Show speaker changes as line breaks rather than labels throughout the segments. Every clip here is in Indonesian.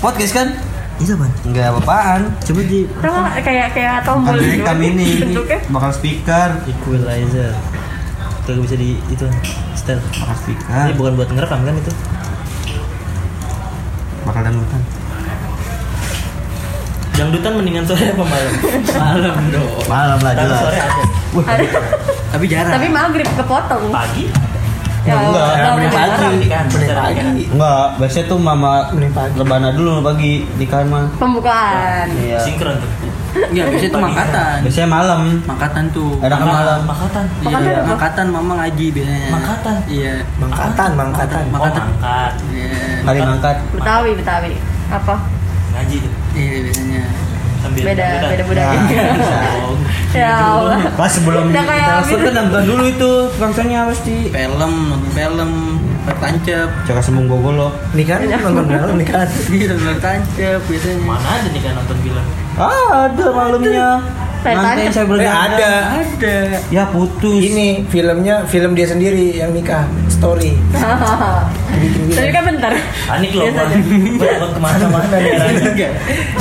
podcast kan
Itu apaan?
nggak apa-apaan
Coba di
Terus kayak kayak tombol
ada
gitu
rekam ini ini
bentuknya.
bakal speaker
equalizer. Kagak bisa di itu setel.
bakal speaker
Ini bukan buat ngerekam kan itu?
bakal dangdutan
Dangdutan mendingan sore apa malam? malam dong.
Malam lah,
Tapi
jelas.
sore ada.
Wah,
Tapi jarang.
Tapi maghrib kepotong.
pagi.
Ya,
Enggak,
Allah,
emang
Allah.
pagi.
Nikahan, acara nikahan.
Enggak, biasanya tuh mama rebana dulu pagi di kamar.
Pembukaan.
Iya.
Sinkron tuh.
Enggak, Iya, biasanya itu
Pagi.
mangkatan.
Biasanya malam.
Mangkatan tuh.
Ada kan malam.
Makatan.
Iya,
Mangkatan apa?
mangkatan mama ngaji biasanya.
Mangkatan?
Iya.
Mangkatan, mangkatan.
Oh,
Mangkatan.
mangkat.
Iya.
Hari mangkat.
Betawi, Betawi. Apa?
Ngaji tuh.
Iya, biasanya.
Sambil
Beda,
dangdutan.
beda budaya.
Oh,
ya Allah.
Pas sebelum
Udah
kita
kayak
telepon
gitu.
kan nonton dulu itu bangsanya pasti.
Film, nonton film, bertancap.
Cakap sembung bogolo.
Nikahan nonton malam nikahan.
kan? Iya, bertancap biasanya.
Mana ada nih kan nonton film?
Ah, ada malamnya.
Saya
Nanti
tanya.
saya
Eh,
berdandan.
ada.
Ada.
Ya putus.
Ini filmnya film dia sendiri yang nikah story.
Tapi kan bentar.
Panik loh
Biasa
gua.
aja.
Gua takut kemana-mana Nah, nih herannya.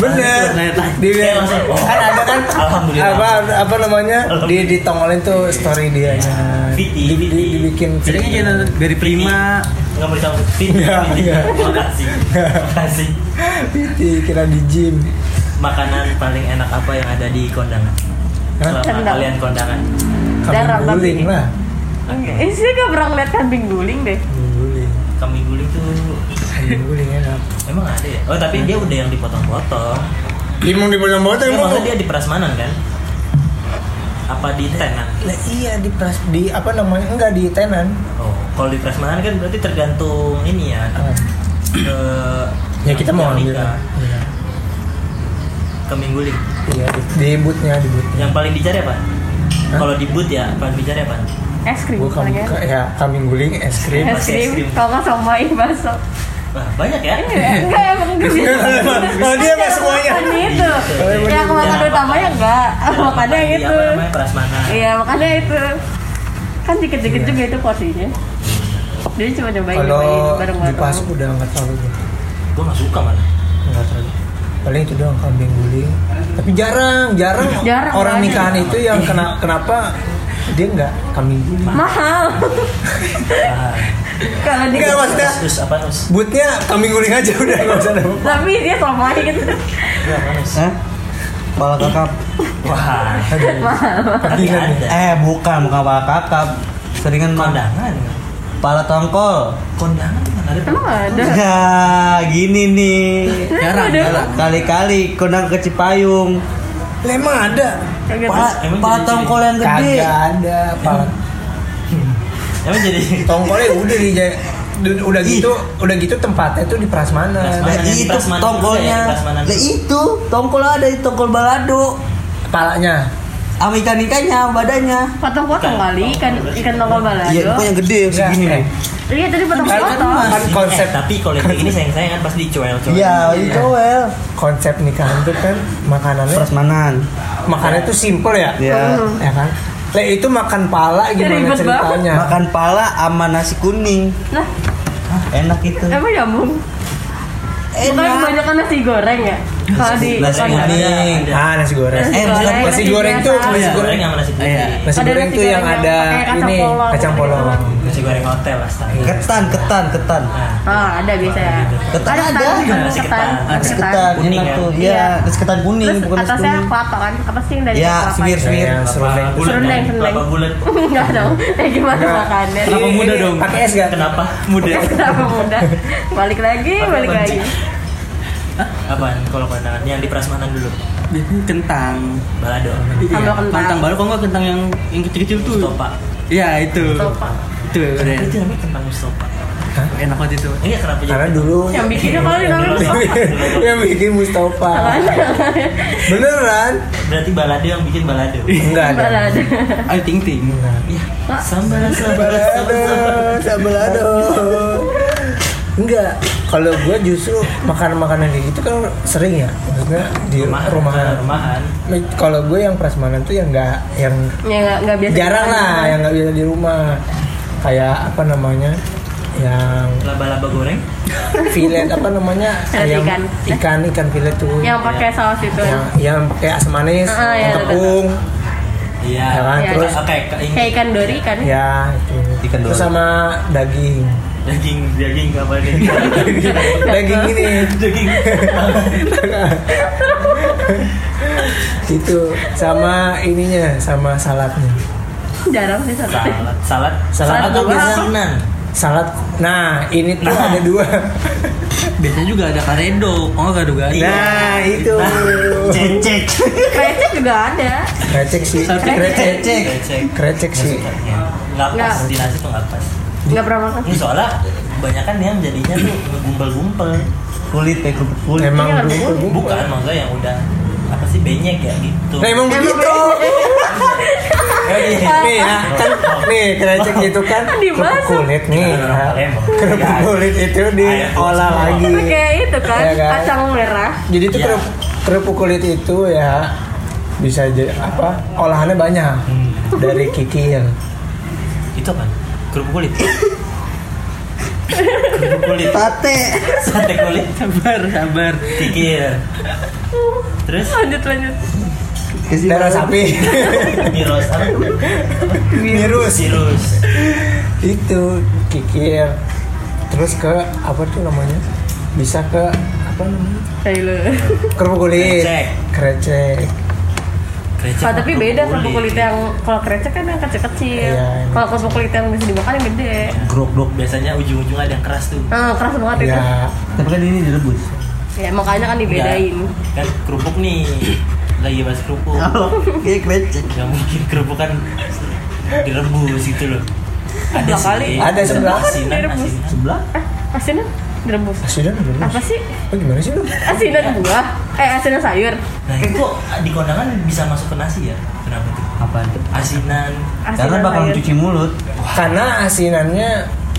Bener.
Di
Di
Saya langsung, oh,
kan ada kan
Alhamdulillah.
apa apa namanya di ditongolin tuh story dia ya.
Viti,
Di,
Viti.
di- dibikin
Biasanya
film.
kita dari prima.
Enggak boleh tahu.
Iya, iya.
Makasih. Makasih.
Viti kira di gym.
Makanan paling enak apa yang ada di kondangan?
Hah?
Selama
Kendang.
kalian kondangan.
Darah,
Kambing guling
kambing.
lah.
Eh, saya gak pernah ngeliat kambing guling deh.
Kambing guling.
Kambing guling tuh
Kambing guling enak.
emang ada ya? Oh, tapi dia udah yang dipotong-potong.
Limung di bulan bawah
Dia maksudnya dia di prasmanan kan? Apa di tenan?
Lah iya di pras di apa namanya enggak di tenan.
Oh, kalau di prasmanan kan berarti tergantung ini ya. eh,
Ah. Ya kita mau
yang
ambil.
nikah.
Iya.
Kambing guling.
Iya di, di bootnya di boot.
Yang paling dicari apa?
Iya. Hah?
Kalau di boot ya, paling dicari apa?
Es krim.
Gua kamu
paling enak.
ya kambing guling es krim.
Es
pakai es
krim.
krim.
Kalau nggak somai masuk.
Wah, banyak ya.
Iya.
Enggak emang gitu.
Oh, dia nggak semuanya.
Makan itu. Yang makan utamanya enggak.
Ah,
Makan
Makannya gitu.
di
gitu.
itu.
Apa namanya prasmanan.
Iya, makannya itu. Kan dikit-dikit
Iya.
juga itu porsinya. Jadi cuma nyobain
Kalau
nyobain
di
bareng-bareng.
pasuk udah nggak terlalu gitu.
Gue nggak suka malah.
Nggak terlalu. Paling itu doang kambing guling. Tapi jarang, jarang,
Jarang,
orang
banyak.
nikahan itu yang kena kenapa dia nggak kambing guling.
Mahal.
Ah,
Kalau di
Enggak maksudnya
Terus apa terus?
bootnya kambing guling aja udah nggak usah ada.
tapi dia somai gitu.
Gua panas.
Eh? Kepala kakap.
Iya.
Wah,
Tapi
tapi
kan
ada.
Eh, bukan, bukan kepala kakap. Seringan mah
Kondangan.
kepala tongkol.
Kondangan mana ada?
Emang ada.
Ya, gini nih.
Jarang,
Aduh.
jarang.
Kali-kali kondang ke Cipayung.
lemah ada.
Kaget.
Pak,
Emang
pak
jadi-
tongkol yang gede.
Kagak ada. Pala
Emang jadi
Tongkolnya udah di udah gitu, udah gitu tempatnya tuh di prasmanan.
Prasmanan.
Lah
Mana yang
itu
prasmanan
tongkolnya.
juga ya, prasmanan
Lah
juga.
itu tongkol ada di tongkol balado.
Palanya.
Sama ikan-ikannya, badannya.
Potong-potong
Ikan.
kali ikan ikan nongol balado.
Iya, pokoknya yang gede yang
Enggak,
segini
eh.
nih.
Iya tadi potong-potong.
Kan konsep
Eh, tapi kalau yang kayak gini sayang sayang kan pasti dicuel-cuel.
Iya, itu well.
konsep nikahan tuh kan makanannya
Prasmanan.
makanannya tuh simple ya.
Iya.
Ya.
Ya kan? Lah itu makan pala gimana
Ribet
ceritanya?
Iya. Makan pala sama nasi kuning.
Nah,
Enak itu.
emang nyambung. Bukan
Enak.
kebanyakan nasi goreng ya. Kalau di
Iya. Nasi
kalau-
kuning.
kuning.
Ah, nasi goreng.
Eh, bukan
nasi goreng tuh
biasa.
Nasi
Nasi
goreng
goreng.
sama nasi putih.
Iya.
Nasi
Ada
goreng
nasi
tuh yang
goreng
ada
yang pakai kacang
ini
polong.
kacang polong.
Nasi goreng hotel astaga.
Ketan, ketan, ketan.
Nah,
Ah, ada biasa ya.
Ketan ada.
Nasi
ketan,
ketan.
Nasi
ketan.
ketan,
Kuning,
enak
kan?
ya?
tuh.
Iya.
Nah, Iya, nasi ketan kuning,
Terus
bukan nasi
atasnya
kuning.
kelapa kan? Apa sih yang dari
Ya,
kelapa
semir,
itu?
semir.
Yang serundeng.
kelapa bulat,
Serundeng,
kan?
serundeng.
Kelapa bulat. Iya,
Enggak dong. Ya gimana
Enggak.
makannya?
Kenapa
Ini-
muda
ini
dong?
Pakai es gak?
Kenapa? Muda.
Kenapa muda? Balik lagi, Iya, balik
Apa?
lagi.
Apaan kalau kondangan? Yang di prasmanan dulu.
Biasanya kentang. Iya.
Balado.
Sambal kentang.
Kentang baru kok enggak kentang yang yang kecil-kecil tuh.
Mustopa.
Iya, itu.
Sofa.
Itu udah.
Itu namanya kentang Mustopa.
Enak banget itu.
Iya, kenapa jadi?
Karena dulu
Yang bikinnya kali namanya Mustafa.
yang bikin Mustafa. Beneran?
Berarti balado yang bikin balado.
Enggak ada.
Balada.
Ayo ting ting.
Iya. Sambal sambal sambal.
Balado, sabalado. Enggak, kalau gue justru makanan-makanan kayak gitu kan sering ya, maksudnya di
Rumahan,
rumahan.
rumahan.
Kalau gue yang prasmanan tuh yang nggak, yang
Ya enggak enggak biasa.
jarang lah, yang nggak bisa di rumah. Kayak apa namanya? yang
laba-laba goreng
fillet apa namanya
Fillet
ayam
ikan.
ikan ikan fillet tuh
yang pakai saus itu
yang yang pakai asam manis
Ah, iya,
tepung
iya
Ya kan,
Iya,
terus-
oke ke- ini
kayak ikan dori kan
ya itu
Ikan
Terus
dorong.
sama daging
daging daging apa daging
daging ini
daging
itu gitu. sama ininya sama saladnya
jarang sih satu
salad salad
Salad
Salad tuh
apa?
biasanya kenan.
salad nah ini tuh
Nah.
ada dua
Biasanya juga ada karedo. Oh, enggak ada gado
nah itu
cecek
krecek juga ada
krecek sih
Salted
krecek
cecek
krecek sih
Maksudnya, ya. nggak pas
Nggak.
di nasi tuh nggak pas
nggak pernah makan
ini soalnya kebanyakan yang jadinya tuh gumpel-gumpel
Kulit kayak kerupuk kulit.
emang
Iya,
begitu
bukan maksudnya yang udah apa sih benyek ya gitu Iya,
nah emang begitu nih ya kan nih krecek itu kan
Dimasak.
kerupuk kulit nih
Kita dorong Palembang.
kerupuk
Iya.
kulit itu diolah
Ayo,
lagi
Itu kayak itu kan
Iya kan?
kacang merah
jadi itu
Iya.
kerup- kerupuk kulit itu ya bisa jadi apa olahannya banyak
Hmm.
dari kikil
itu kan kerupuk kulit kerupuk kulit
Sate.
sate kulit
Sabar, sabar.
kikir terus
lanjut lanjut
darah sapi
virus apa
virus
virus
itu kikil terus ke apa tuh namanya bisa ke apa namanya
Kayak lu.
kerupuk kulit
Krecek.
krecek
Krecek
Oh,
sama
tapi beda kerupuk kulit yang kalau krecek kan yang kecil-kecil.
Iya, iya.
Kalau kerupuk kulit yang bisa dimakan yang gede.
grok grok biasanya ujung-ujung ada yang keras tuh
Nah, keras banget itu.
ya
Tapi kan ini direbus.
Ya makanya kan dibedain.
Iya.
Enggak. kan kerupuk nih lagi bahas kerupuk
Kayak krecek.
nggak mungkin kerupuk kan direbus gitu loh ada
Dua kali.
Ada sebelah.
asinan
Direbus.
asinan
Sebelah.
Asinan Eh, direbus.
asinan belum
Apa sih?
apa gimana sih lu
Asinan buah? Eh, asinan sayur.
nah itu kok di kondangan bisa masuk ke nasi ya kenapa tuh
Apaan?
asinan
Asinan
Karena bakal
sayur.
cuci mulut.
karena asinannya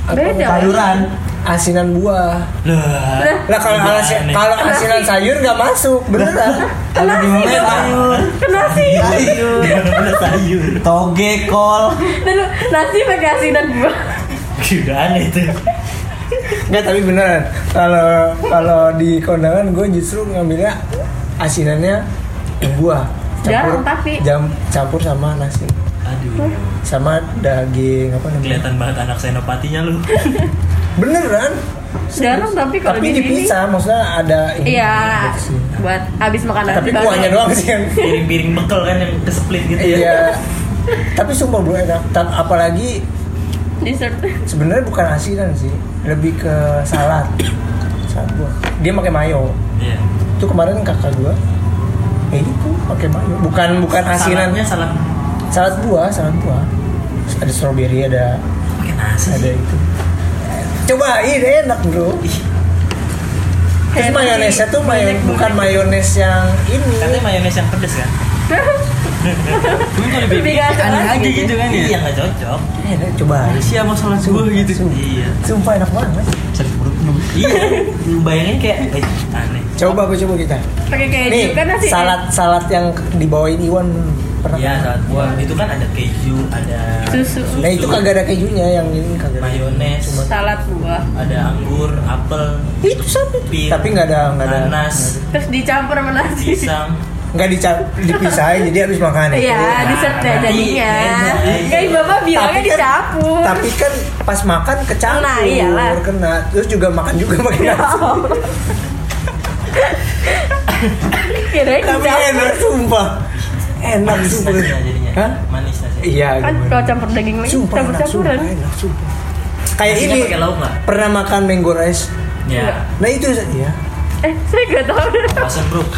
apa,
Beda.
Sayuran.
asinan buah
lah
lah kalau
Nah,
gimana
alas-
nih?
kalau asinan sayur nggak masuk beneran
Ada di mana
Kenapa?
sayur?
Kan Nasi.
Sayur.
Bener-bener sayur
Toge kol.
Lalu nasi pakai asinan buah.
Udah aneh itu
Enggak tapi beneran kalau kalau di kondangan gue justru ngambilnya asinannya yang buah
Jarang, tapi.
jam campur sama nasi
Aduh
sama daging apa namanya
Iya.
Kelihatan banget anak senopatinya lu
beneran
Jarang tapi kalau
tapi
di sini.
dipisah maksudnya ada ini
Iya.
ada sih.
Buat habis makan nasi
tapi
baru-
kuahnya doang sih yang
Piring-piring bekel kan yang keseplit gitu ya
iya tapi sumpah bro enak Ta- apalagi
Dessert.
sebenarnya bukan asinan sih lebih ke salad salad buah dia pakai mayo
Iya
itu kemarin kakak gua ya itu pakai mayo bukan bukan
Saladnya
asinannya
salad
salad buah salad buah Terus ada strawberry ada
Pakai nasi
ada
sih
itu coba ini enak bro
Ih,
terus
Kayak
mayonesnya
nasi
tuh mayo,
minyak
bukan
goreng.
mayones yang ini
Katanya mayones yang pedes kan
Cuma kalau di
Lebih gak ada
aneh
lagi.
aja gitu kan ya.
Iya nggak cocok
enak coba
Siapa mau sholat subuh gitu.
Sumpah.
Iya
sumpah enak banget
Sakit perut.
Iya Bayangin kayak eh, Aneh
coba aku coba kita
Pakai keju
nih
kan nasi.
salad salad yang dibawain Iwan pernah
Iya salad buah Itu kan ada keju Ada
Susu.
nah itu kagak ada kejunya yang ini kagak ada.
Mayones
Salad buah.
Ada anggur Apel
itu sama
Pir
tapi nggak ada nggak ada
Nanas
Terus dicampur sama nasi.
Pisang
nggak dica- dipisahin jadi harus makan itu
Iya, dessert deh
Nanti,
jadinya.
nanti.
Kayak bapak bilangnya dicampur.
kan- tapi kan pas makan kecampur
Nah, iyalah.
kena terus juga makan juga pakai nasi
Kirain
tapi
dicampur.
enak sumpah enak
Manis
sumpah
nasinya jadinya
Hah?
Manis nasinya
iya
Kan
gimana?
kalau campur daging lagi
sumpah
campur
enak sumpah
campuran.
enak sumpah kayak
Nasinya
ini
pakai lauk nggak?
pernah makan mango rice
Ya
nah itu ya
Eh, saya gak tahu.
Kawasan bro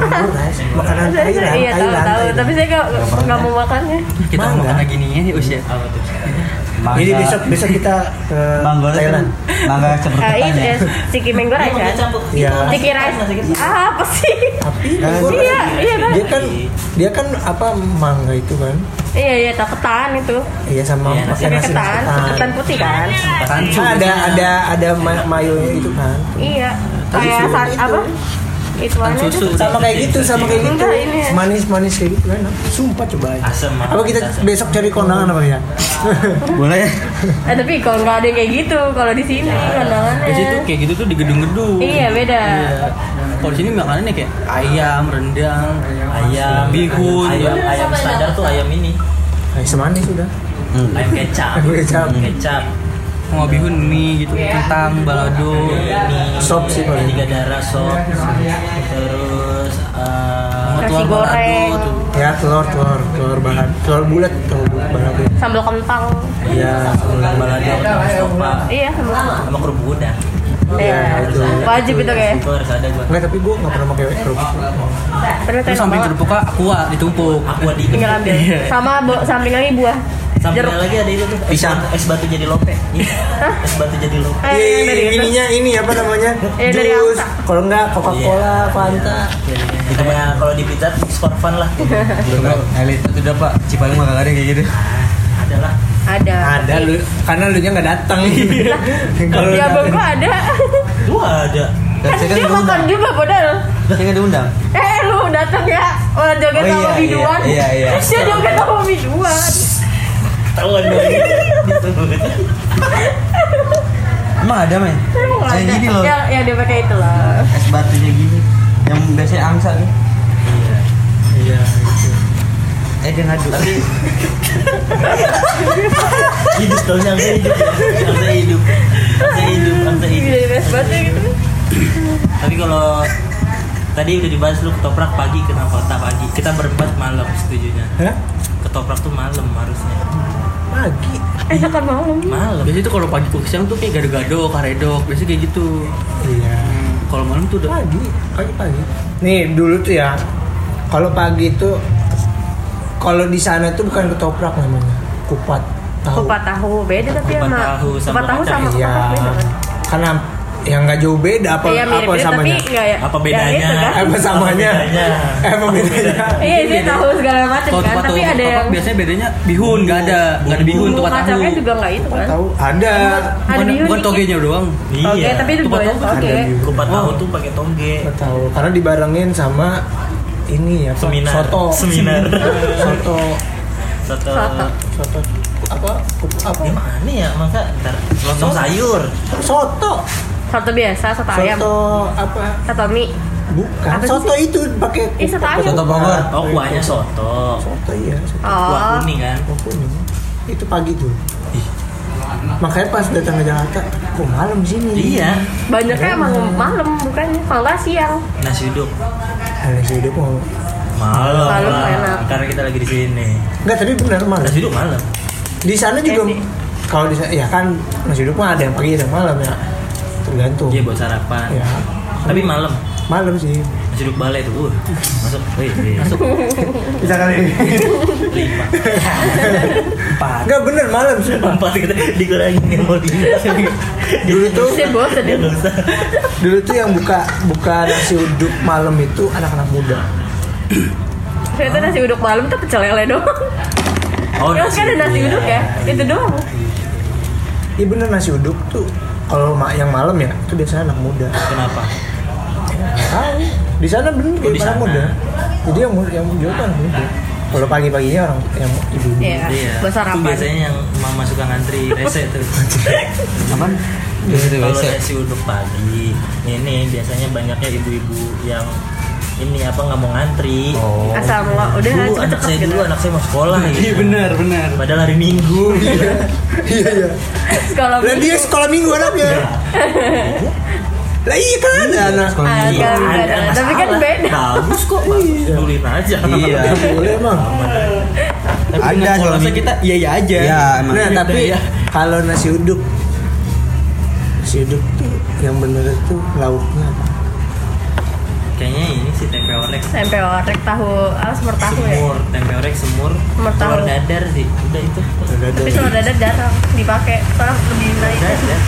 mango rice
Mango
makanan
Saya-
Thailand
saya- iya tahu
Thailand,
tahu,
Thailand.
tapi saya gak nggak mau makannya.
Kita mau
Mangga.
makan lagi nih ya, usia.
Apa tuh?
jadi besok besok kita ke
Mangga
Thailand
Mangga seperti
Ah,
tanya.
iya, ciki mango rice
Emang dia
kan?
campur
Iya.
Itu
Ciki
nasi
rice.
nasi kita.
Ah, apa sih?
tapi
Kan.
mango rice-
Iya, iya kan?
dia kan dia kan apa mangga itu kan
Iya, iya, tak ketan itu.
iya sama
Iya,
pakai
nasi
nasi
Ketan, ketan putih kan?
Ah, ada ada ada ma- mayonya itu kan
Iya.
Tapi
Kayak
sebelum
sar-
itu,
apa? itu
Kan
aja
susu.
sama kayak gitu sama kayak gitu
Enggak, ini ya.
manis manis kayak gitu enak sumpah coba aja
Asem,
apa kita
asem.
besok cari kondangan apa ya
Boleh.
Eh, tapi kalau nggak ada yang kayak gitu kalau di sini kondangannya
Di situ kayak gitu tuh di gedung-gedung.
Iya, beda.
Iya. Kalau di sini makanannya kayak ayam, rendang,
ayam
bihun,
ayam ayam standar tuh ayam ini
Nah, semanis sudah
Hmm.
ayam kecap Hmm,
Ayam kecap.
kecap
mau bihun mie gitu, kentang, balado.
mie
Sop sih paling.
tiga darah sop terus eh,
Sama
Nasi
telur
goreng.
balado tuh. gitu.
ya telur telur telur bahan telur bulat telur bulat bahan bulat.
sambal kentang
ya
telur balado sama stopak
iya sambal kentang
sama kerupuk gudang
Iya,
itu.
wajib itu kayak
itu harus ada gua
Enggak, tapi gue nggak pernah pakai kerupuk.
terus
Terus samping kerupuknya aqua ditumpuk.
aku di
tinggal ambil
Iya.
sama bu- samping lagi buah
Sampingnya
jeruk
lagi ada itu tuh es
Pisang.
batu- es batu jadi lope Iya. es batu jadi lope
Eh,
Iya,
dari
iya,
itu.
ininya ini apa namanya?
Iya, dari
Jus.
angsa.
Kalau enggak
Iya.
Coca-Cola,
Iya.
Fanta.
itu mah iya. kalau di pizza Hut, skor fun lah
Coba elit itu udah Pak. Cipali mah kagak ada yang kayak gitu.
adalah
ada
Ada lu karena lu nya enggak datang. Kalau
ya
datang-
abang gua ada
dua ada
Dan
kan
saya kan
dia makan
diundang.
juga padahal
Saya kan diundang.
eh lu datang ya oh, joget
Oh,
sama
iya,
biduan
iya, iya, iya.
dia joget sama biduan
tahun dua
Emang ada men?
Emang
Saya
ada.
gini loh.
ya, ya dia pakai itu lah
Es batunya gini. Yang biasanya angsa nih.
Iya. gitu.
Eh dia ngadu.
tapi hidup tahun yang saya hidup yang saya hidup yang saya hidup yang saya
Ini
hidup
dari best banget ya gitu
tapi kalau tadi udah dibahas lu ketoprak pagi kenapa kota pagi kita berempat malam setujunya
Hah?
ketoprak tuh malam harusnya
Pagi.
enakan malam
malam
Biasanya tuh kalau pagi ke siang tuh kayak gado-gado, karedok, biasanya kayak gitu.
Iya.
Hmm, Kalau malam tuh udah
Pagi, pagi pagi. Nih, dulu tuh ya. Kalau pagi itu kalau di sana tuh bukan ketoprak namanya. Kupat. Tahu.
kupat tahu beda tapi
Kupat
sama
tahu sama
kupat tahu
kacang.
sama
Iya.
kupat beda kan?
Karena yang nggak jauh beda apa
Iya mirip
apa
mirip tapi
samanya.
enggak ya.
apa
Yang
bedanya
itu kan.
Apa samanya?
Apa bedanya?
Apa bedanya?
Iya dia tahu segala macam
kalau
kan
tempat
tapi
tahu
ada yang
biasanya bedanya bihun nggak ada, nggak ada bihun
bumbu
tempat tahu.
kacangnya juga enggak itu kan.
Tahu ada.
Ada
Bukan,
bihun
bukan
dikit.
togenya doang.
Oke
iya
tapi itu
Kupat
boleh
tahu kan
oke.
ada bihun.
kupat tahu tuh pakai toge
Nggak tahu. Karena dibarengin sama ini ya apa?
Seminar.
soto
Seminar.
soto
soto
Soto.
soto apa kup- apa
dia mah aneh ya masa ntar lontong sayur
soto
Satu biasa satu ayam
soto apa
satu mie. Apa
bukan
sih?
soto itu pakai
Ih, soto
kupat.
ayam.
Soto Bogor.
oh kuahnya soto
soto iya soto
kuah
Oh.
kuning kan
Kuah kuning. itu pagi tuh makanya pas datang ke Jakarta kok malam sini
iya
Banyaknya emang malam bukannya kalau nggak siang.
nasi uduk
hari hidup mau
malam
Malam
Bang.
enak.
karena kita lagi di sini
Enggak, tapi benar malam
nasi uduk malam
di sana juga
Jadi.
kalau di sana ya kan nasi uduk mah ada yang pagi ada yang malam ya
Oh.
tergantung
iya buat sarapan
Ya.
tapi malam
malam sih
nasi uduk balai tuh uh. masuk wih, wih. masuk
bisa kali
lima
Enggak bener malam sumpah
empat kita dikurangin yang mau diingat
dulu tuh
Saya bosan
dia nggak usah
dulu tuh yang buka buka nasi uduk malam itu anak-anak muda
Ternyata nasi uduk malam tuh pecel lele doang.
oh
Terus kan ada nasi uduk ya, itu doang.
iya bener nasi uduk tuh kalau ma- yang malam ya itu biasanya anak muda
kenapa
Nggak tahu di sana bener
Oh, di
kayak anak
sana.
muda jadi yang mu- yang jauh tuh anak muda kalau pagi-paginya orang yang ibu
Iya.
itu
Buat sarapan.
biasanya yang mama suka ngantri rese tuh
Apaan?
Iya,
Iya,
Dia itu
kalau
WC.
nasi uduk pagi ini biasanya banyaknya ibu-ibu yang ini apa nggak mau ngantri
Oh.
Asal nggak udah
dulu
cepet
anak
cepet
saya
gitu.
dulu anak saya mau sekolah
Iya
gitu.
benar benar.
padahal hari minggu gitu.
iya iya
Kalau
lah dia sekolah minggu anaknya lah iya kan ada anak
Sekolah
Ah,
minggu.
iya.
Ada,
beda.
nggak
Tapi kan
salah.
beda.
bagus kok bagus duluin aja
Iya.
Nggak boleh emang
Tapi
Ada
dengan
soalnya.
polosnya kita iya iya aja.
Iya, emang.
Nah, tapi
Iya.
kalau nasi uduk nasi uduk tuh yang bener itu lauknya apa?
kayaknya ini sih tempe orek
tempe orek tahu, ah semur tahu ya.
semur tempe orek semur
Semur tahu.
telur dadar sih udah itu
Telur dadar.
Tapi telur dadar jarang dipakai, soalnya lebih naik.
dadar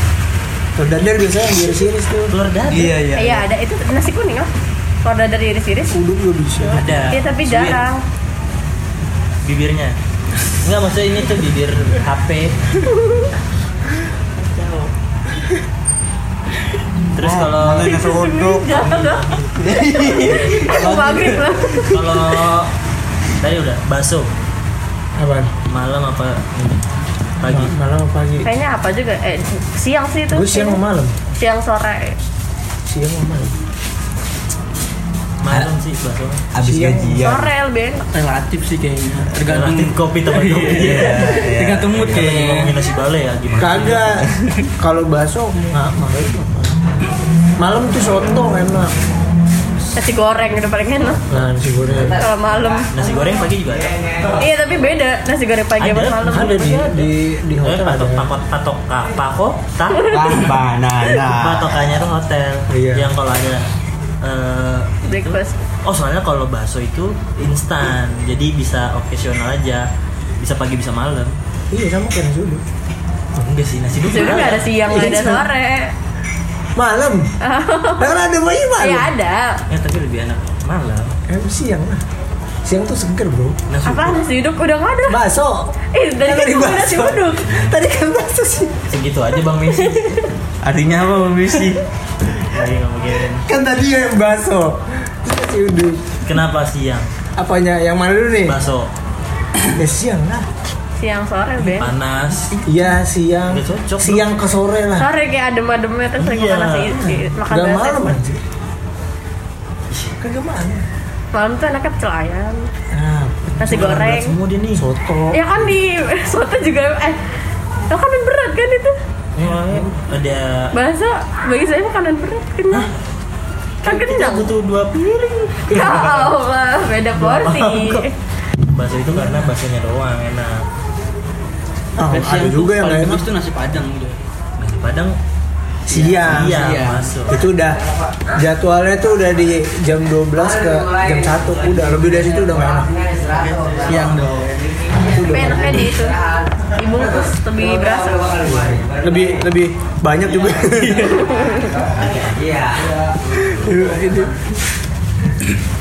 Telur dadar biasanya yang diiris-iris tuh.
telur dadar
Iya iya.
Iya ada itu nasi kuning lah. Kalau dadar iris-iris,
Uduk juga bisa.
ada
iya tapi
Suwir.
jarang.
bibirnya enggak maksudnya ini tuh bibir HP Terus kalau
Mana nasi kodok.
Jangan. Aku maghrib lah.
kalau tadi udah bakso
Apaan?
malam apa ini? pagi
Ma- Malam apa pagi?
Kayaknya apa juga? Eh, siang sih itu.
Gue siang sama malam.
Siang sore.
Siang sama malam.
malam sih bakso
Abis
Siang.
gajian.
Sore lebih enak.
Relatif sih kayaknya. Tergantung
Relatif kopi teman kopi.
Iya. Tergantung
Iya,
mood
Kalau lagi ngomongin
kayaknya.
nasi balai ya gimana?
Kagak. Kalau bakso nggak malam. Malam tuh soto enak.
Nasi goreng udah paling enak.
Nah, nasi goreng.
Kalau malam.
Nasi goreng pagi juga ada.
Iya tapi beda nasi goreng pagi sama
Ada,
malam.
Ada di di di
Eh,
hotel ada.
patok pakot patok ka- pako tak
Lah banana.
patokannya tuh hotel.
Iya.
Yang kalau ada eh,
Breakfast.
Oh soalnya kalau bakso itu instan, jadi bisa occasional aja, bisa pagi bisa malam.
Iya sama kayak nasi uduk.
Enggak sih nasi
Jadi
duduk.
nggak ada siang, nggak ada sore.
Malam. Kan ada bayi
Iya
malam.
ada.
Ya tapi lebih enak malam.
Eh siang lah. Siang tuh seger bro.
Nasi uduk
Apa nasi uduk udah nggak ada?
Bakso.
Eh dari
Tadi
tadi udah nasi
bakso.
uduk.
Tadi kan bakso sih.
segitu aja bang Messi. Iya,
Artinya apa Bang Bisi?
Lagi ngomongin
Kan tadi yang bakso. Terus nasi uduk.
kenapa siang
Apanya? Yang mana dulu nih?
bakso
Ya siang lah.
Siang sore lebih. enak.
panas
Iya siang.
Udah cocok, bro.
Siang ke sore lah.
Sore kayak adem-ademnya terus lagi
Iya.
makan nasi di- makan
Gak
nasi.
malam anjir. Kagak malam.
Malam tuh enaknya pecel ayam,
Nah,
nasi
Makan berat
goreng.
semua dia nih
soto.
Ya kan di soto juga eh makanan berat kan itu.
Wah, Iya, ada
Bahasa bagi saya makanan berat kenyang. Kan
kita
kenyang.
butuh dua piring
Ya Allah, beda porsi.
mangkok. bakso itu karena baksonya doang enak
Ah,
Dan siang
ada
tuh
juga yang
paling
lain.
bagus tuh nasi padang gitu. udah.
nasi padang
Siang.
iya
Iya.
masuk
Itu udah jadwalnya tuh udah di jam 12 ke jam 1 udah lebih dari situ udah gak enak.
Siang dong.
Itu
Tapi
udah nggak enak.
enaknya di itu. Dibungkus lebih berasa.
Lebih lebih banyak juga. Iya. itu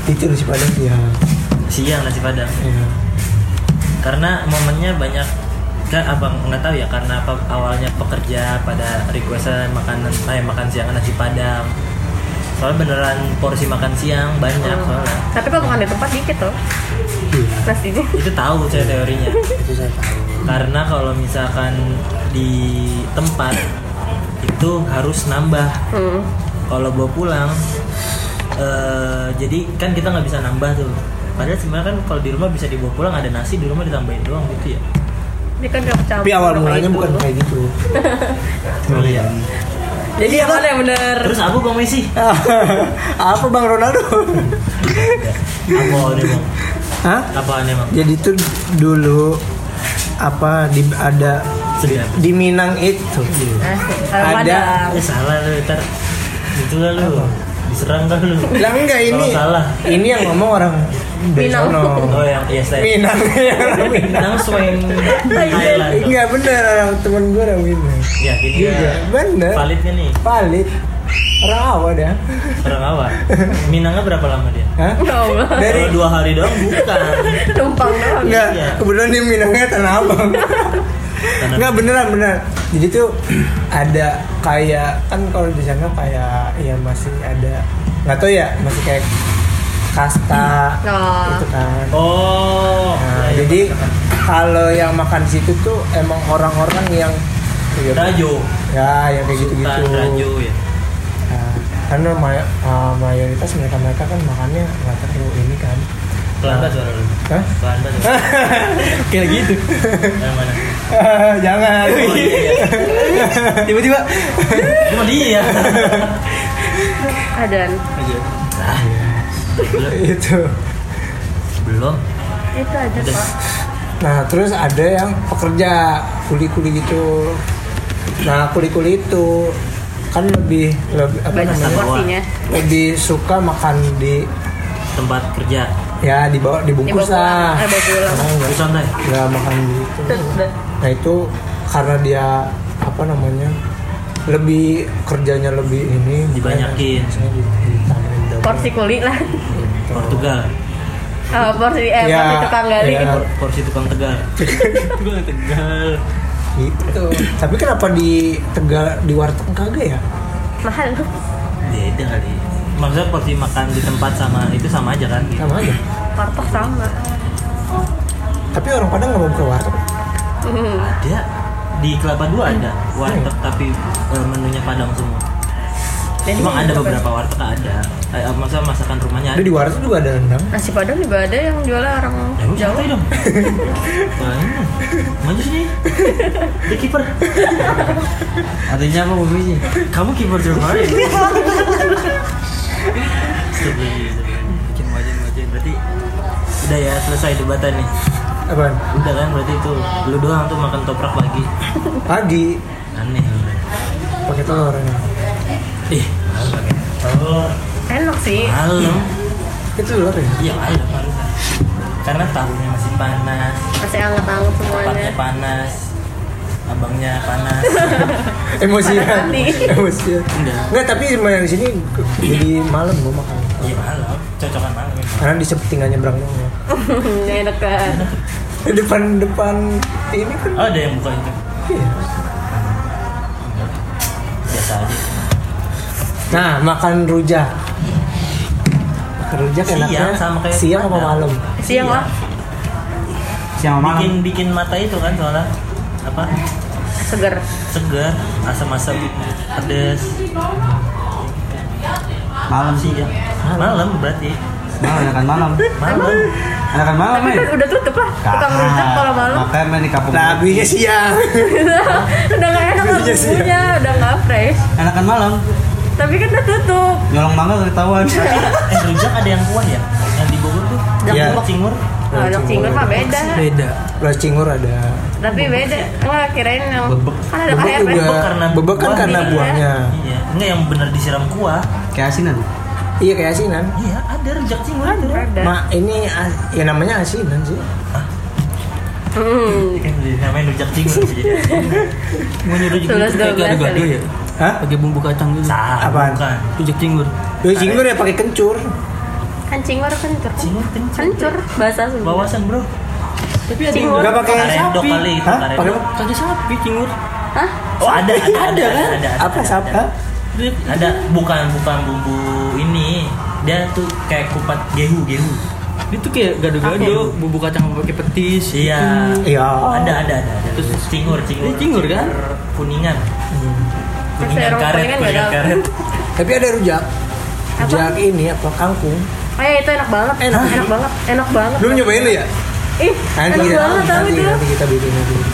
itu nasi padang iya. siang.
siang nasi padang
Iya.
karena momennya banyak kan abang nggak tahu ya karena apa awalnya pekerja pada requestan makanan eh, makan siang nasi padang soalnya beneran porsi makan siang banyak
Oh.
soalnya
Tapi kalau makan di tempat dikit tuh
Iya.
nasinya.
itu tahu saya teorinya
Itu saya tahu.
karena kalau misalkan di tempat itu harus nambah
Hmm.
kalau bawa pulang eh, jadi kan kita nggak bisa nambah tuh padahal sebenarnya kan kalau di rumah bisa dibawa pulang ada nasi di rumah ditambahin doang gitu ya
Dia kan gak campur.
Tapi awal
sama
mulanya
itu.
bukan kayak gitu. Oh,
Iya.
Jadi yang mana yang bener?
terus aku bang Messi
Apa Bang Ronaldo?
apa aneh bang
Hah?
apa aneh bang
Jadi tuh dulu apa di ada
sedap
di Minang itu
Eh,
Ada.
ada.
eh salah lu ntar itu lah lu diserang kan lu
Lah enggak ini.
Kalau salah
Ini yang ngomong orang dari
Minang.
sono.
oh yang iya saya
Minang. Orang Minang.
Nang swing
Iya,
Thailand
Enggak bener orang temen gue orang Minang.
ya gini
Iya, bener.
validnya nih
Palit. Orang awal dah.
Orang awal. Minangnya berapa lama dia?
ya. Hah?
Ya Allah.
Dari
Kalau dua hari doang bukan.
Numpang doang.
enggak
Iya.
kebetulan dia Minangnya tanah abang.
Tanah-
Enggak beneran bener. Jadi tuh ada kayak kan kalau di sana kayak ya masih ada nggak tahu ya masih kayak kasta
Oh.
gitu kan.
Oh.
Nah,
ya, ya,
jadi
masakan.
kalau yang makan di situ tuh emang orang-orang yang
Rajo.
ya yang kayak gitu-gitu.
Sultan Rajo ya.
Nah, karena may- uh, mayoritas mereka-mereka kan makannya nggak terlalu ini kan.
Pelan banget suara lu.
Hah?
Pelan banget. suara
Kayak gitu.
lu. Yang mana?
Jangan.
Oh, iya, iya.
Tiba-tiba
Cuma dia.
Iya.
Ada.
Ah. Belum.
itu.
Belum.
Itu aja
Udah.
Pak.
Nah, terus ada yang pekerja kuli-kuli gitu. Nah, kuli-kuli itu kan lebih lebih apa
Banyak
namanya?
porsinya.
Lebih suka makan di
Tempat kerja.
ya di bawah dibungkus
Dibawa pulang.
lah.
Eh, bawa pulang.
Nah,
Di
nggak-
santai.
nggak makan gitu.
Terus udah.
Nah, itu karena dia apa namanya? lebih kerjanya lebih ini
Dibanyakin.
Saya ditambahin double.
Porsi kuli lah.
Portugal.
Eh, porsi eh
Ya,
porsi tukang gali.
ya.
Por- Porsi tukang tegal. Tukang tegal.
gitu. Tapi kenapa di Tegal di warteg kagak ya?
mahal
beda Ya kali maksudnya porsi makan di tempat sama itu sama aja kan gitu.
sama aja
Warteg sama
tapi orang Padang nggak mau buka warteg
Hmm.
ada di kelapa dua
Hmm.
ada warteg tapi eh, menunya padang semua
Dan
cuma
ini
ada
apa?
beberapa warteg ada eh, maksudnya masakan rumahnya
ada
ada
di warteg juga ada rendang
nasi padang juga ada yang jualan orang
Ya lu
Jawa
santai dong. Banyak. Maju sini. Dia kiper.
Artinya apa posisinya?
Kamu kiper Jerman. Stop lagi, stop lagi. Bikin wajan wajan berarti udah ya selesai debatan nih.
apaan
Udah kan berarti itu lu doang tuh makan toprak pagi.
pagi
Aneh lu. Bre.
pakai telur ya.
Ih, malu pakai telur.
enak sih
Malu.
itu telur ya
Iya, malu harusnya. Karena tahunya masih panas,
masih anget-anget semuanya
tempatnya panas, abangnya panas.
emosian
Mati.
emosian
Enggak.
nggak tapi emang di sini jadi malam mau makan
Iya, malu. Cocokan malu. memang.
karena di sep- tinggal nyebrang doang ya.
Nggak enak kan
Di depan depan ini kan
Oh, ada yang buka itu.
iya.
Biasa aja.
nah makan rujak makan rujak
Siang
enaknya
sama kayak
siang apa
padang.
malam
siang lah
Siang malam.
Bikin bikin mata itu kan soalnya apa?
seger
Segar, asam-asam pedes.
Malam sih ya.
Malam berarti.
Malam enakan malam.
Malam.
Enakan malam
tapi
ya.
kan udah tutup lah tukang rujak kalau malam
Makanya main di kampung.
nah abisnya siang
udah nggak enak lah
Iya sih.
bumbunya udah nggak fresh
Enakan malam.
tapi kan udah tutup
Nyolong mangga ketahuan.
Eh, rujak ada yang kuah ya? Yang di Bogor tuh. Iya.
Yang
Yang
kuah.
cingur.
Nah, anak single mah beda
Beda.
Beras cingur ada
tapi beda nggak kirain yang
Bebek.
kan ada
bebek
kayak
juga
bebek karena
bebek kan
buah.
karena
Iya.
buahnya
Iya, enggak yang benar disiram kuah.
Kayak Anu. asinan.
iya kayak asinan
Iya, ada rujak cingur itu.
ada
Ma, ini as- ya namanya asinan sih
Hmm.
Iya, kan, Namanya rujak cingur sih.
Mau nyuruh juga
Sebelas,
kayak
dua belas
gado-gado
kali.
ya.
Hah?
Pakai bumbu kacang gitu.
Nah,
Apaan?
bukan.
Rujak cingur.
Beras cingur ya pakai kencur
kancing baru Kan kencur
Cingur kencur.
kencur bahasa Sunda
Wawasan, Bro.
Tapi
ada
ada
yang
yang
nggak pakai
Karedok
sapi.
kali itu,
Hah?
karedok.
Pakai apa?
Tadi sapi cingur.
Hah?
Oh, ada, ada,
ada kan? Apa
ada,
sapa?
ada. Ada, bukan bukan bumbu ini. Dia tuh kayak kupat gehu gehu.
Itu kayak
ya?
gado-gado, bumbu kacang pakai petis.
Iya.
iya
Ada ada ada. ada. Terus cingur cingur.
Ini cingur kan?
Kuningan. Kuningan
Terus
karet,
kuningan
kuningan
nggak ada.
karet.
tapi ada rujak
Apa?
rujak ini apa kangkung
Eh itu enak banget,
Enak.
enak, banget, enak banget.
belum nyobain lu ya
Ih,
nanti
enak
kita
banget tapi
nanti,
itu.
nanti kita bikin nanti
Dia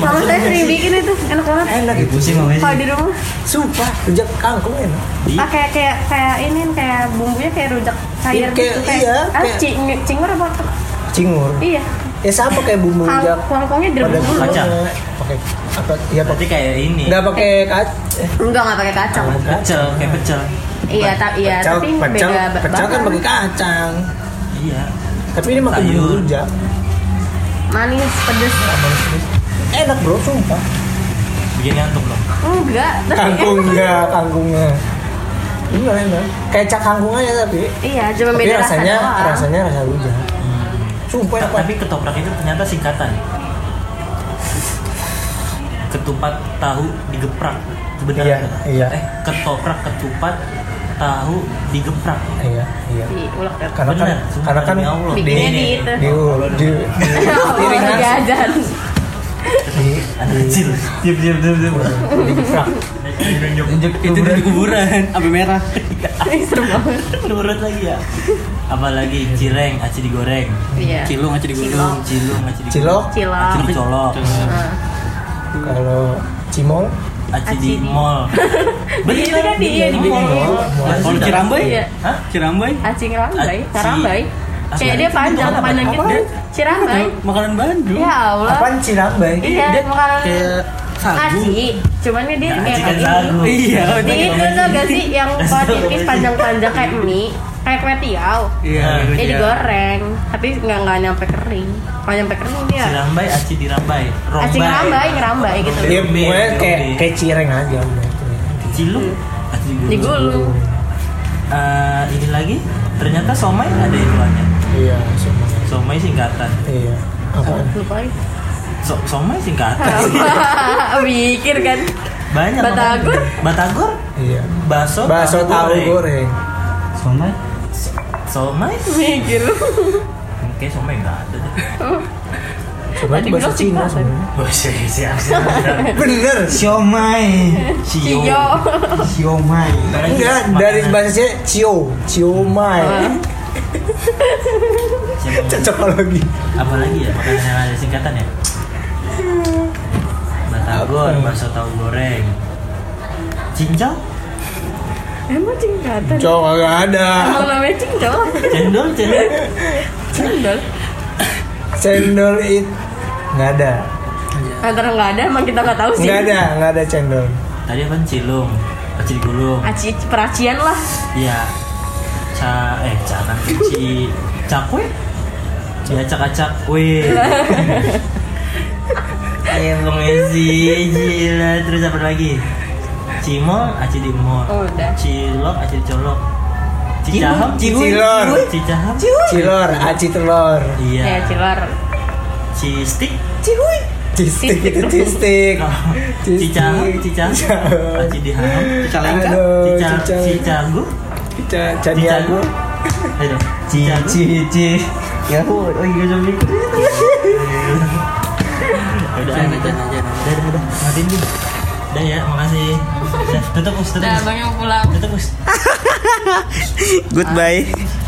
Sama
maksudnya
saya sering bikin itu, enak banget.
enak
Lagi
itu
pusing
Kalau di
makanya.
rumah,
sumpah rujak kangkung enak
Di-
ah kayak kayak kayak ini kayak bumbunya kayak rujak
Iya,
cair
kayak-
gitu kayak,
iya,
ah,
kayak-
cing, cingur apa?
cingur
Iya,
ya sama kayak bumbu
Kang-
rujak
kangkungnya direbus dulu.
kacang pakai apa iya
Berarti
pakai
kayak ini.
nggak pakai kac eh,
Enggak nggak pakai kacang.
Pecel, kayak pecel.
Iya, ta- iya,
pecel
tapi
pecel
beda ba-
pecel kan
bahan.
pakai kacang
Iya.
tapi ini pakai
Sayur.
bumbu rujak
manis, pedes.
enak bro sumpah
Bikin ngantuk loh.
Enggak, tapi enak.
kangkungnya kangkungnya ini enak kayak cak kangkung aja tapi
Iya, cuma
tapi
beda
rasanya
doang.
rasanya rasa rujak sumpah enak banget.
Tapi ketoprak itu ternyata singkatan. Ketupat tahu digeprak. Itu benar
Iya,
nggak?
iya.
Eh, ketoprak ketupat tahu digeprak.
iya iya
Diulek ya.
karena kan
Bener, sumpah
karena kan
demi Allah.
di
Bikinnya di itu.
di di piring
Oh,
kan
jajan.
di
Anak kecil. Diam diam diam diam.
di diprak.
Nunjuk
Itu dari kuburan.
Apa merah?
Ih, Serem banget.
nurut lagi ya. Apalagi cireng aci digoreng.
Iya.
Cilung aja
Cilok.
digulung.
Cilung aci digoreng.
cilok
Aci
Cilok.
dicolok.
Nah.
kalau cimol
Aci
Aci
di
di-
mall.
Iya, itu kan di- iya, di
mall.
mall.
Mall.
Kalau
Sudah.
Cirambai?
Iya.
Hah?
Cirambai.
Acing rambai,
Acing.
karambai. Kayak
Acing.
dia panjang,
Itu apa?
panjang gitu.
Apaan?
Cirambai.
Makanan Bandung.
Ya Allah.
apaan cirambai
Iya,
Dia
makanan
kayak sagu.
Nah, aci. Cuman dia
Ya,
kayak
aci kan
kayak
sagu.
gini.
Iya.
Di
bener.
itu tuh gak sih yang
Nasi
kalau
goreng.
tipis panjang-panjang kayak mie, kayak kue tiaw.
Iya.
Nah,
iya.
Dia digoreng, tapi nggak nggak nyampe kering. Kalau nyampe kering dia
Cirambai aci dirambai. Rombai.
acing rambai, ngerambai gitu.
dia
Rombe,
gue Iya, kayak
rombe.
kayak cireng aja udah itu.
Cilung aci digoreng.
Digulung.
Eh, ini lagi ternyata somai ada iklannya.
iya semua
Somai singkatan.
iya apaan
Lupa lagi.
So- somai singkatan.
Mikir kan?
Banyak.
Batagor?
makanan. Batagor?
Iya.
Bakso.
Bakso tahu goreng.
Somai?
Somai?
mikir lu
Oke, somai enggak ada deh.
Coba itu
Tadi
bahasa
bilang
Cina
ciptaan.
sebenarnya.
Wah, siap, siap, siap.
Bener.
Siomay.
Cio
Siomay.
Enggak, dari bahasa Cina cio, ciomai. Cocok lagi.
Apa lagi ya? Makanan yang ada singkatan ya? Batagor, bakso tahu goreng. Cincau?
emang cingkatan
Cok enggak ada.
emang namanya cingcol
Cendol, cendol.
cendol
Cendol it enggak ada.
antara nggak ada emang kita nggak tahu sih
Enggak ada, enggak ada cendol.
Tadi apa? Cilung. Aci gulung.
aci peracian lah
Iya. Ca eh ca kan ci cakwe. Ya acak-acak kue. Ayo Bang Ezi, gila. Terus apa lagi? Cimol, aci di mall.
Oh, udah.
Cilok, aci colok. Cicaham,
Cilor.
Cicaham.
Cilor, aci telur.
ya
Iya.
cilor
Cistik.
cihuy
Cistik itu cistik.
Cicaham, cicaham.
Cicaham.
Aci diham.
Cicalengka.
Aduh,
Cicah,
cicah.
cicagu.
Cicah, Caniago.
Ayo, cicagu.
Cici, ci. Ya, oh, oh, iya, zombie.
Udah,
Jangan,
udah.
jangan, jangan.
Udah, udah, udah. Matiin dulu. Udah ya, makasih. Udah, tutup, Us, tutup.
udah
Us.
bang yang pulang
Tutup, Us.
Goodbye.